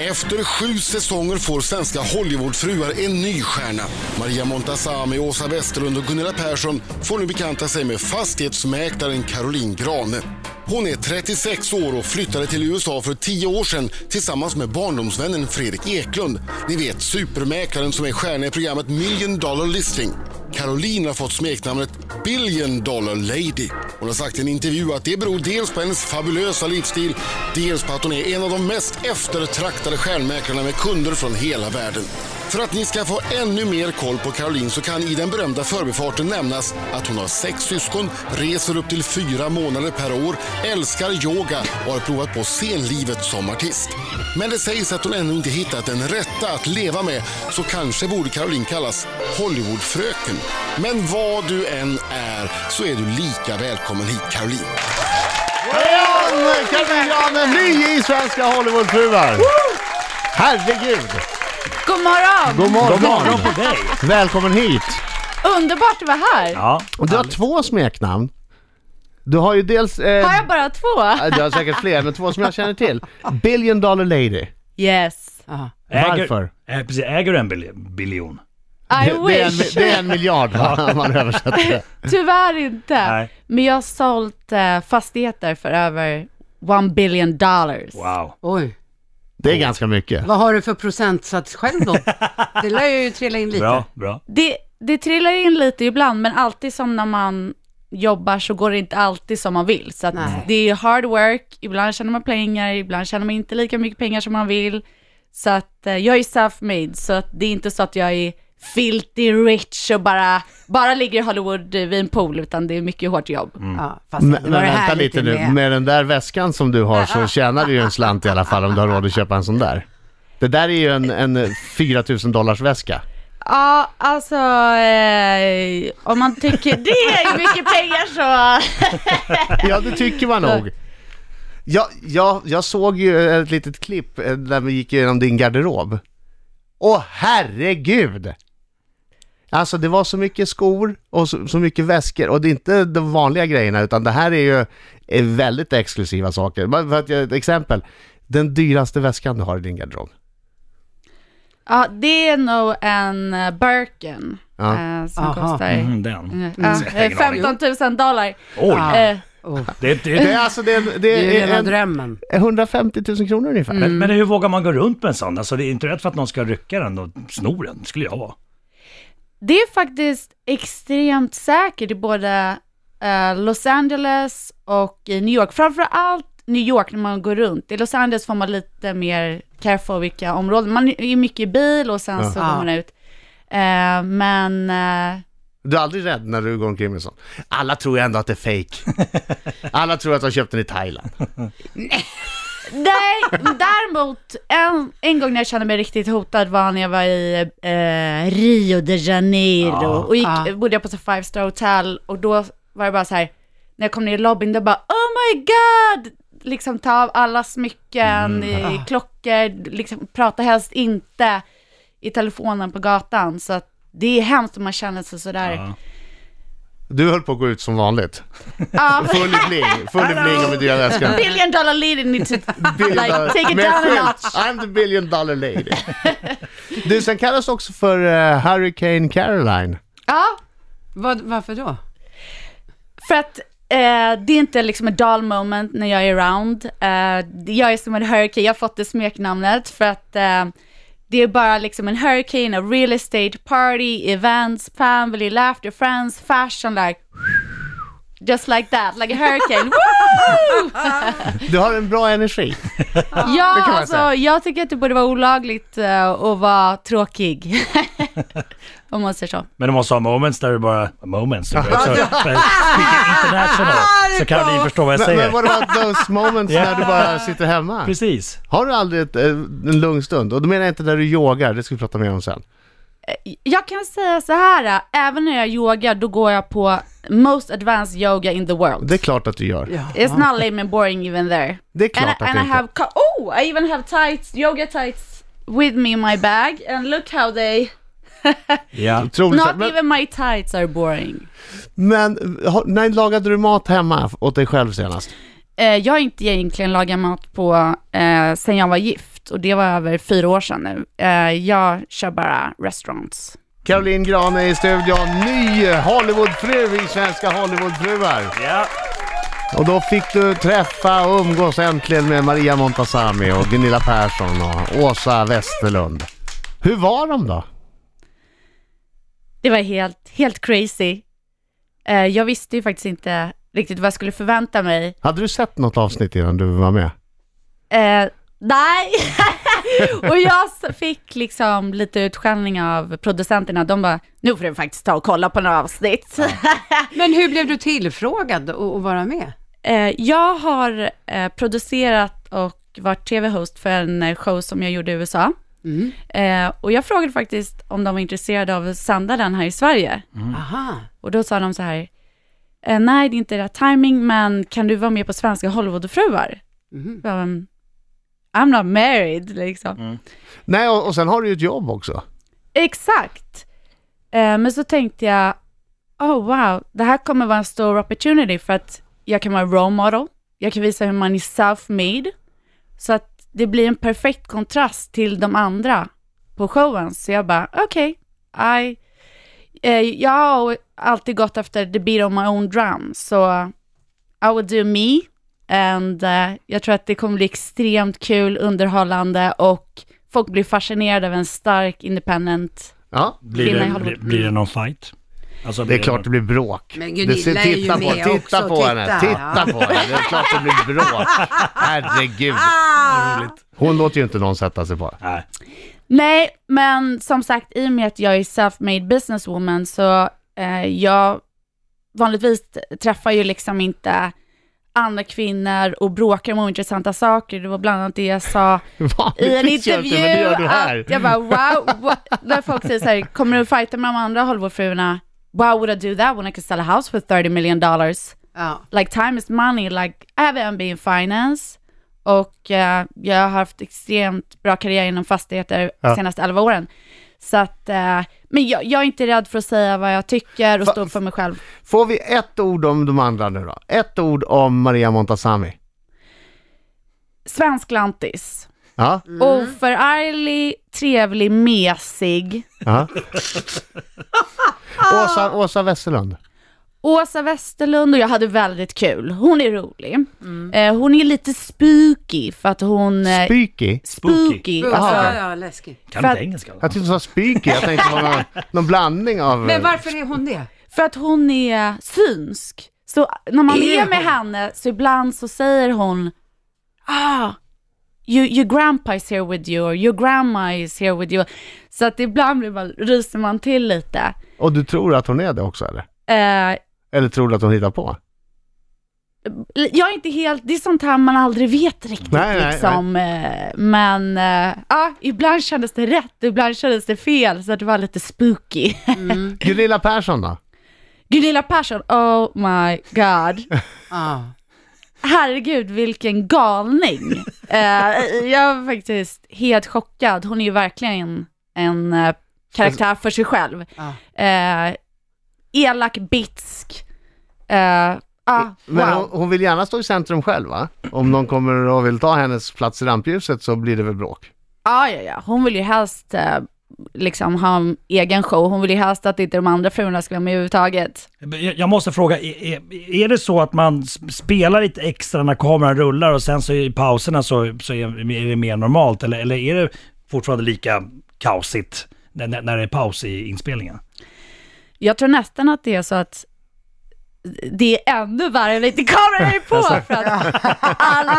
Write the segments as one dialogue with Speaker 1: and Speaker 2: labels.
Speaker 1: Efter sju säsonger får svenska Hollywoodfruar en ny stjärna. Maria Montazami, Åsa Westerlund och Gunilla Persson får nu bekanta sig med fastighetsmäklaren Caroline Grane. Hon är 36 år och flyttade till USA för 10 år sedan tillsammans med barndomsvännen Fredrik Eklund. Ni vet supermäklaren som är stjärna i programmet Million Dollar Listing. Caroline har fått smeknamnet Billion Dollar Lady. Hon har sagt i en intervju att det beror dels på hennes fabulösa livsstil, dels på att hon är en av de mest eftertraktade stjärnmäklarna med kunder från hela världen. För att ni ska få ännu mer koll på Caroline så kan i den berömda förbifarten nämnas att hon har sex syskon, reser upp till fyra månader per år, älskar yoga och har provat på scenlivet som artist. Men det sägs att hon ännu inte hittat den rätta att leva med så kanske borde Caroline kallas Hollywoodfröken. Men vad du än är så är du lika välkommen hit Caroline.
Speaker 2: Grane, Caroline Grane, ny i Svenska Hollywoodfruar. Herregud!
Speaker 3: God morgon!
Speaker 2: God morgon!
Speaker 4: God morgon på dig!
Speaker 2: Välkommen hit!
Speaker 3: Underbart att vara här.
Speaker 4: Ja,
Speaker 2: Och du har två smeknamn. Du har ju dels... Eh,
Speaker 3: Har jag bara två?
Speaker 2: Du har säkert fler, men två som jag känner till. Billion Dollar Lady.
Speaker 3: Yes.
Speaker 2: Varför?
Speaker 4: Äger, eh, precis, äger du en bil, biljon?
Speaker 3: I
Speaker 2: Det, det, är en,
Speaker 3: wish.
Speaker 2: det är en miljard va? om man översätter det.
Speaker 3: Tyvärr inte.
Speaker 4: Nej.
Speaker 3: Men jag har sålt eh, fastigheter för över one billion dollars.
Speaker 4: Wow.
Speaker 5: Oj,
Speaker 2: Det är ganska mycket.
Speaker 5: vad har du för procentsats själv då? Det lär ju trilla in lite.
Speaker 4: Bra, bra.
Speaker 3: Det, det trillar in lite ibland, men alltid som när man jobbar så går det inte alltid som man vill. Så att
Speaker 5: Nej.
Speaker 3: det är hard work, ibland tjänar man pengar, ibland tjänar man inte lika mycket pengar som man vill. Så att eh, jag är self-made, så att det är inte så att jag är filthy rich och bara, bara ligger i Hollywood eh, vid en pool, utan det är mycket hårt jobb.
Speaker 5: Ja, fast
Speaker 2: Men,
Speaker 5: det var
Speaker 2: men
Speaker 5: det
Speaker 2: vänta
Speaker 5: här
Speaker 2: lite nu,
Speaker 5: med.
Speaker 2: med den där väskan som du har så tjänar du ju en slant i alla fall om du har råd att köpa en sån där. Det där är ju en, en 4000 dollars väska.
Speaker 3: Ja, alltså eh, om man tycker det är mycket pengar så...
Speaker 2: Ja, det tycker man nog. Jag, jag, jag såg ju ett litet klipp eh, där vi gick igenom din garderob. Åh herregud! Alltså det var så mycket skor och så, så mycket väskor och det är inte de vanliga grejerna utan det här är ju eh, väldigt exklusiva saker. Bara För att ge ett exempel, den dyraste väskan du har i din garderob.
Speaker 3: Ja, det är nog en eh, Birken
Speaker 2: Ja.
Speaker 3: eh, som
Speaker 5: Aha.
Speaker 3: kostar
Speaker 4: Mm, den.
Speaker 3: eh, ja, eh, 15 000 dollar.
Speaker 4: Oj!
Speaker 3: Eh,
Speaker 4: Det, det,
Speaker 2: Det är alltså det, är-
Speaker 5: Det är Mm. ju
Speaker 2: det
Speaker 5: hela
Speaker 2: är en,
Speaker 5: drömmen.
Speaker 2: 150 000 kronor ungefär.
Speaker 3: Mm.
Speaker 4: Men, men hur vågar man gå runt med en sån? Alltså det är inte rätt för att någon ska rycka den och sno den, skulle jag vara.
Speaker 3: det är faktiskt extremt säkert i både eh, Los Angeles och i New York. Framför allt New York när man går runt. I Los Angeles får man lite mer careful vilka områden. Man är ju mycket i bil och sen så går
Speaker 5: Ja.
Speaker 3: man ut. Eh, men... eh,
Speaker 2: Du är aldrig rädd när du går omkring med sånt. Alla tror ju ändå att det är fake. Alla tror att de köpte den i Thailand.
Speaker 3: Nej, däremot en, en gång när jag kände mig riktigt hotad var när jag var i eh, Rio de Janeiro
Speaker 4: Ja.
Speaker 3: och gick,
Speaker 5: Ja.
Speaker 3: bodde jag på ett five star hotel och då var det bara så här, när jag kom ner i lobbyn då bara oh my god, liksom ta av alla
Speaker 4: Mm.
Speaker 3: smycken, eh, klockor, liksom prata helst inte i telefonen på gatan så att det är hemskt om man känner sig sådär.
Speaker 4: Ja.
Speaker 2: Du höll på att gå ut som vanligt.
Speaker 3: Ja.
Speaker 2: Full i bling, full i bling och med dyra väskan.
Speaker 3: Billion dollar lady needs to like, take it
Speaker 2: Med
Speaker 3: down a
Speaker 2: skylt.
Speaker 3: notch.
Speaker 2: I'm the billion dollar lady. Du, sen kallas du också för eh, Hurricane Caroline.
Speaker 3: Ja,
Speaker 5: Vad, varför då?
Speaker 3: För att eh, det är inte liksom ett dull moment när jag är around. Eh, jag är som en hurricane, jag har fått det smeknamnet för att eh, det är bara liksom en hurricane av real estate, party, events, family, laughter, friends, fashion like Just like that, like a hurricane. Woo!
Speaker 2: Du har en bra energi.
Speaker 3: ja,
Speaker 2: man
Speaker 3: alltså
Speaker 2: säga.
Speaker 3: jag tycker att det borde vara olagligt eh, att vara tråkig. Om man säger så.
Speaker 4: Men de måste ha moments där du bara... Moments? där du bara- Så, så, international. Så kan ni förstå vad jag
Speaker 2: Men, men
Speaker 4: säger.
Speaker 2: what about those moments när du bara sitter hemma?
Speaker 4: Precis.
Speaker 2: Har du aldrig ett, eh, en lugn stund? Och då menar jag inte när du yogar, det ska vi prata mer om sen.
Speaker 3: Jag kan säga så här, äh, även när jag yogar då går jag på most advanced yoga in the world.
Speaker 2: Det är klart att du gör.
Speaker 5: Ja.
Speaker 3: It's not lame and boring even there.
Speaker 2: Det är klart
Speaker 3: and I,
Speaker 2: att
Speaker 3: and
Speaker 2: det
Speaker 3: I
Speaker 2: inte.
Speaker 3: have, co- oh, I even have tights, yoga tights with me in my bag and look how they,
Speaker 4: Ja.
Speaker 2: Otroligt.
Speaker 3: not
Speaker 2: men,
Speaker 3: even my tights are boring.
Speaker 2: men har- när lagade du mat hemma åt dig själv senast?
Speaker 3: eh, jag har inte egentligen lagat mat på eh, sen jag var gift och det var över fyra år sedan nu. Eh, jag kör bara restaurants.
Speaker 2: Caroline Grane i studion, ny Hollywoodfru i Svenska Hollywoodfruar.
Speaker 4: Ja.
Speaker 2: Och då fick du träffa och umgås äntligen med Maria Montazami och Gunilla Persson och Åsa Westerlund. Hur var de då?
Speaker 3: Det var helt, helt crazy. Eh, jag visste ju faktiskt inte riktigt vad jag skulle förvänta mig.
Speaker 2: Hade du sett något avsnitt innan du var med?
Speaker 3: Eh, nej! och jag s- fick liksom lite utskällning av producenterna. De bara, nu får du faktiskt ta och kolla på några avsnitt.
Speaker 5: Men hur blev du tillfrågad att att vara med?
Speaker 3: Eh, jag har eh, producerat och varit tv-host för en eh, show som jag gjorde i USA. Eh, och jag frågade faktiskt om de var intresserade av att sända den här i Sverige.
Speaker 5: Aha.
Speaker 3: Och då sa de så här, eh, nej det är inte rätt timing men kan du vara med på Svenska Hollywoodfruar?
Speaker 5: Mhm.
Speaker 3: Jag bara, "Mm, I'm not married liksom.
Speaker 2: Nej, och, och sen har du ju ett jobb också.
Speaker 3: Exakt. Eh, men så tänkte jag, oh wow, det här kommer vara en stor opportunity för att jag kan vara role model, jag kan visa hur man är self-made, så att det blir en perfekt kontrast till de andra på showen. Så jag bara, okej, I, eh, jag har alltid gått efter the beat of my own drum, så I will do me, and eh, jag tror att det kommer bli extremt kul, underhållande och folk blir fascinerade av en stark independent
Speaker 2: Ja,
Speaker 4: Blir
Speaker 3: Kvinna i
Speaker 4: det, blir,
Speaker 3: Hollywood.
Speaker 4: blir det någon fight? Alltså,
Speaker 2: det
Speaker 4: blir
Speaker 2: är klart det
Speaker 4: någon-
Speaker 2: blir bråk. Det
Speaker 5: Men Gunilla
Speaker 2: ser-
Speaker 5: är ju
Speaker 2: titta på,
Speaker 5: med
Speaker 2: titta
Speaker 5: också,
Speaker 2: på henne,
Speaker 5: titta.
Speaker 2: titta på henne. Det är klart det blir bråk. Herregud.
Speaker 5: Ah!
Speaker 2: Hon låter ju inte någon sätta sig på.
Speaker 4: Nej.
Speaker 3: Nej, men som sagt, i och med att jag är self-made businesswoman så eh, jag vanligtvis träffar ju liksom inte andra kvinnor och bråkar om ointressanta saker. Det var bland annat det jag sa i en
Speaker 2: Vanligtvis gör inte,
Speaker 3: intervju.
Speaker 2: men det gör du här.
Speaker 3: Att jag bara wow, what? när folk säger så här, kommer du fighta med de andra Hollywoodfruarna? Why would I do that when I could sell a house for 30 million dollars?
Speaker 5: Ja.
Speaker 3: like time is money, like I have an MBA in finance och eh, jag har haft extremt bra karriär inom fastigheter de senaste 11 åren. Så att, eh, men jag, jag är inte rädd för att säga vad jag tycker och stå upp för mig själv.
Speaker 2: Får vi ett ord om de andra nu då? Ett ord om Maria Montazami.
Speaker 3: Svensk lantis.
Speaker 2: Ja,
Speaker 3: Oförarglig, trevlig, mesig.
Speaker 2: ja.
Speaker 5: Ah.
Speaker 2: Åsa, Åsa Westerlund.
Speaker 3: Åsa Westerlund och jag hade väldigt kul. Hon är rolig. Eh, hon är lite spooky för att hon... eh,
Speaker 2: Spyky.
Speaker 3: spooky. Alltså,
Speaker 5: Ja, ja, läskig.
Speaker 4: Kan
Speaker 3: För
Speaker 4: du
Speaker 3: att-
Speaker 4: inte engelska? va?
Speaker 2: Jag tyckte du sa spyky, jag tänkte det var någon, någon blandning av...
Speaker 5: Men varför är hon det?
Speaker 3: För att hon är synsk. Så när man är med henne så ibland så säger hon ah, you, your grandpa is here with you, or your grandma is here with you. Så att ibland blir man, ryser man till lite.
Speaker 2: Och du tror att hon är det också eller?
Speaker 3: Eh,
Speaker 2: Eller tror du att hon hittar på?
Speaker 3: jag är inte helt, det är sånt här man aldrig vet riktigt
Speaker 2: Nej, nej,
Speaker 3: liksom. Eh, Men eh, ja, ibland kändes det rätt, ibland kändes det fel, så att det var lite spooky.
Speaker 2: Gunilla Persson då?
Speaker 3: Gunilla Persson, oh my god.
Speaker 5: Ja.
Speaker 3: herregud vilken galning. Eh, jag var faktiskt helt chockad. Hon är ju verkligen en eh, karaktär för sig själv.
Speaker 5: Ja.
Speaker 3: Eh, elak, bitsk. Eh, ah,
Speaker 2: Men hon,
Speaker 3: wow.
Speaker 2: hon vill gärna stå i centrum själv va? Om någon kommer och vill ta hennes plats i rampljuset så blir det väl bråk?
Speaker 3: Ah, Ja, ja, ja. Hon vill ju helst eh, liksom ha en egen show. Hon vill ju helst att inte de andra fruarna ska vara med överhuvudtaget.
Speaker 4: Jag jag måste fråga, är, är- är det så att man s- spelar lite extra när kameran rullar och sen så i pauserna så, så är, är det mer normalt? Eller, eller är det fortfarande lika kaosigt när, när när det är paus i inspelningen?
Speaker 3: Jag tror nästan att det är så att det är ännu värre när inte kameran är på för att alla,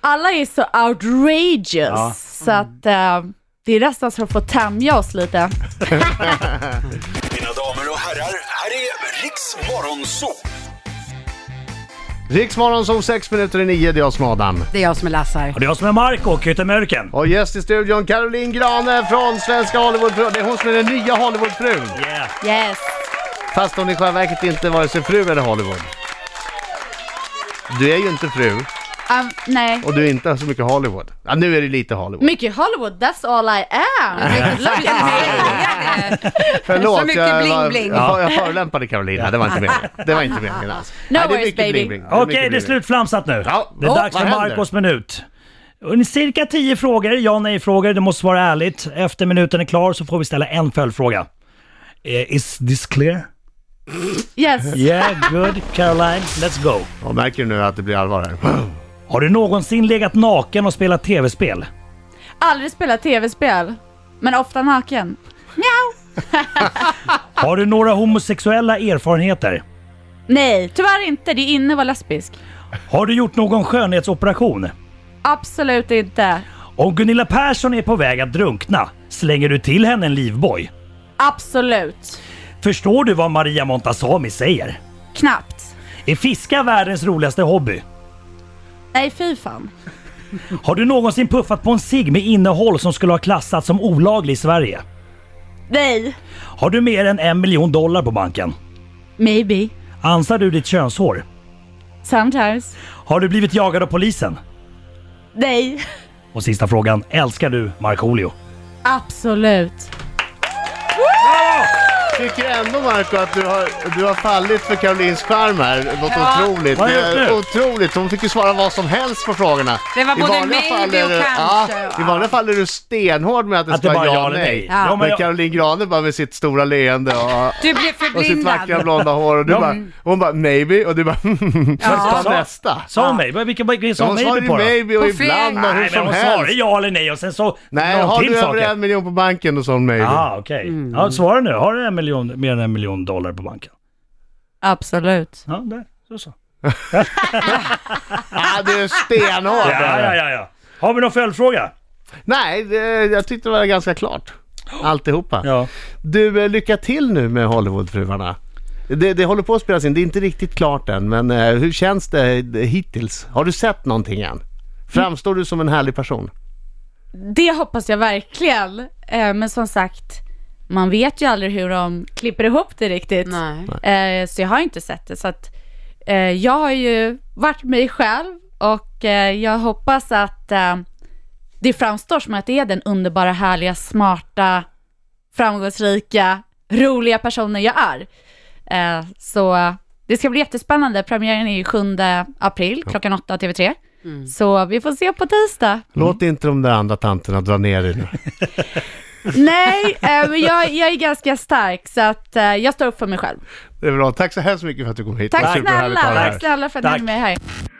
Speaker 3: alla är så outrageous
Speaker 4: Ja.
Speaker 3: så att eh, det är nästan så att få tämja oss lite.
Speaker 6: Mina damer och herrar, här är Riks Morgonzoo!
Speaker 2: Riksmorgon som 6 minuter i 9, det är jag som är Adam.
Speaker 5: Det är jag som är Lassar.
Speaker 4: Och det är jag som är Marco, Kyttemörken.
Speaker 2: Och gäst i studion Caroline Grane från Svenska Hollywoodfrun. Det är hon som är den nya Hollywoodfrun.
Speaker 4: Yeah.
Speaker 3: Yes.
Speaker 2: Fast hon i själva verket inte vare sig fru eller Hollywood. Du är ju inte fru.
Speaker 3: Um, nej.
Speaker 2: Och du är inte så mycket Hollywood. Ja, nu är det lite Hollywood.
Speaker 3: Mycket Hollywood, that's all I am.
Speaker 5: Look at me.
Speaker 2: Förlåt,
Speaker 5: Så mycket
Speaker 2: jag,
Speaker 5: bling,
Speaker 2: var-
Speaker 5: bling.
Speaker 2: Ja, jag förolämpade Carolina, det var inte meningen. Det var inte meningen alls. Nej, det är
Speaker 3: worries,
Speaker 2: mycket
Speaker 3: baby.
Speaker 2: bling, bling. är
Speaker 4: Okej,
Speaker 2: mycket
Speaker 4: det är
Speaker 2: bling, bling.
Speaker 4: slutflamsat nu.
Speaker 2: Ja.
Speaker 4: Det är
Speaker 2: Ja,
Speaker 4: dags
Speaker 2: vad
Speaker 4: för
Speaker 2: händer?
Speaker 4: Marcos minut. Och Cirka 10 frågor, ja nej-frågor, du måste svara ärligt. Efter minuten är klar så får vi ställa en följdfråga. Eh, is this clear?
Speaker 3: Yes.
Speaker 4: Yeah, good Caroline, let's go.
Speaker 2: Ja, märker du nu att det blir allvar här?
Speaker 4: Har du någonsin legat naken och spelat tv-spel?
Speaker 3: Aldrig spelat tv-spel, men ofta naken. Mjau.
Speaker 4: Har du några homosexuella erfarenheter?
Speaker 3: Nej, tyvärr inte. Det är inne att vara lesbisk.
Speaker 4: Har du gjort någon skönhetsoperation?
Speaker 3: Absolut inte.
Speaker 4: Om Gunilla Persson är på väg att drunkna, slänger du till henne en livboj?
Speaker 3: Absolut.
Speaker 4: Förstår du vad Maria Montazami säger?
Speaker 3: Knappt.
Speaker 4: Är fiska världens roligaste hobby?
Speaker 3: Nej, fy fan.
Speaker 4: Har du någonsin puffat på en cigg med innehåll som skulle ha klassats som olaglig i Sverige?
Speaker 3: Nej.
Speaker 4: Har du mer än en miljon dollar på banken?
Speaker 3: Maybe.
Speaker 4: Ansar du ditt könshår?
Speaker 3: Sometimes.
Speaker 4: Har du blivit jagad av polisen?
Speaker 3: Nej.
Speaker 4: Och sista frågan, älskar du Markoolio?
Speaker 3: Absolut.
Speaker 2: Tycker ändå Marco att du har, du har fallit för Karolins charm här. Något otroligt.
Speaker 4: Vad har jag gjort
Speaker 2: Det är
Speaker 4: nu?
Speaker 2: otroligt. Hon fick ju svara vad som helst på frågorna.
Speaker 5: Det var
Speaker 2: I
Speaker 5: både
Speaker 2: vanliga
Speaker 5: maybe
Speaker 2: fall är
Speaker 5: och
Speaker 2: det-
Speaker 5: kanske,
Speaker 2: Ja,
Speaker 5: va?
Speaker 2: I vanliga fall är du stenhård med att det
Speaker 4: Att
Speaker 2: ska
Speaker 4: det
Speaker 2: vara
Speaker 4: bara
Speaker 2: ja och nej.
Speaker 4: Ja, men
Speaker 2: Men
Speaker 4: jag-
Speaker 2: Caroline Grane bara med sitt stora leende och,
Speaker 5: Du blev
Speaker 2: och sitt vackra
Speaker 5: förblindad.
Speaker 2: blonda hår. Och du
Speaker 4: Ja,
Speaker 2: bara,
Speaker 4: men-
Speaker 2: hon bara maybe och du bara ta
Speaker 4: Sa-
Speaker 2: nästa.
Speaker 4: Sa hon mig? Vilken vilken
Speaker 2: Ja,
Speaker 4: sa
Speaker 2: hon
Speaker 4: hon
Speaker 2: svarade
Speaker 4: mig
Speaker 2: ju
Speaker 4: på då?
Speaker 2: maybe och
Speaker 5: På
Speaker 2: ibland
Speaker 5: flera.
Speaker 2: och hur
Speaker 4: Nej men
Speaker 2: som
Speaker 4: hon svarade
Speaker 2: helst.
Speaker 4: ja eller nej och sen så
Speaker 2: Nej,
Speaker 4: någon
Speaker 2: har
Speaker 4: till
Speaker 2: du Mm.
Speaker 4: sak.
Speaker 2: över en miljon på banken och sån maybe?
Speaker 4: Ah, okej. Ja, svara nu. Har du en miljon, mer än en miljon dollar på banken?
Speaker 3: Absolut.
Speaker 4: Ja, där. Så så.
Speaker 2: Ja, du är stenhård.
Speaker 4: Ja, ja, ja, ja. Har vi någon följdfråga?
Speaker 2: Nej, det, jag tyckte det var ganska klart. Alltihopa.
Speaker 4: Ja.
Speaker 2: Du, eh, lycka till nu med Hollywoodfruarna. Det, det håller på att spelas in, det är inte riktigt klart än, men eh, hur känns det eh, hittills? Har du sett någonting än? Framstår du som en härlig person?
Speaker 3: Det hoppas jag verkligen. Eh, men som sagt, man vet ju aldrig hur de klipper ihop det riktigt.
Speaker 5: Nej.
Speaker 3: Eh, så jag har inte sett det. Så att, eh, jag har ju varit mig själv och eh, jag hoppas att eh, det framstår som att det är den underbara, härliga, smarta, framgångsrika, roliga personen jag är. Eh, så eh, det ska bli jättespännande. Premiären är ju 7 april klockan 8 TV3. Så vi får se på tisdag.
Speaker 2: Låt inte de där andra tanterna dra ner dig nu.
Speaker 3: Nej, eh, men jag, jag är ganska stark så att eh, jag står upp för mig själv.
Speaker 2: Det är bra. Tack så hemskt mycket för att du kom hit.
Speaker 3: Tack
Speaker 2: Det var superhärligt att ha
Speaker 3: snälla,
Speaker 2: dig här.
Speaker 3: tack snälla för att ni
Speaker 4: Tack.
Speaker 3: är med här.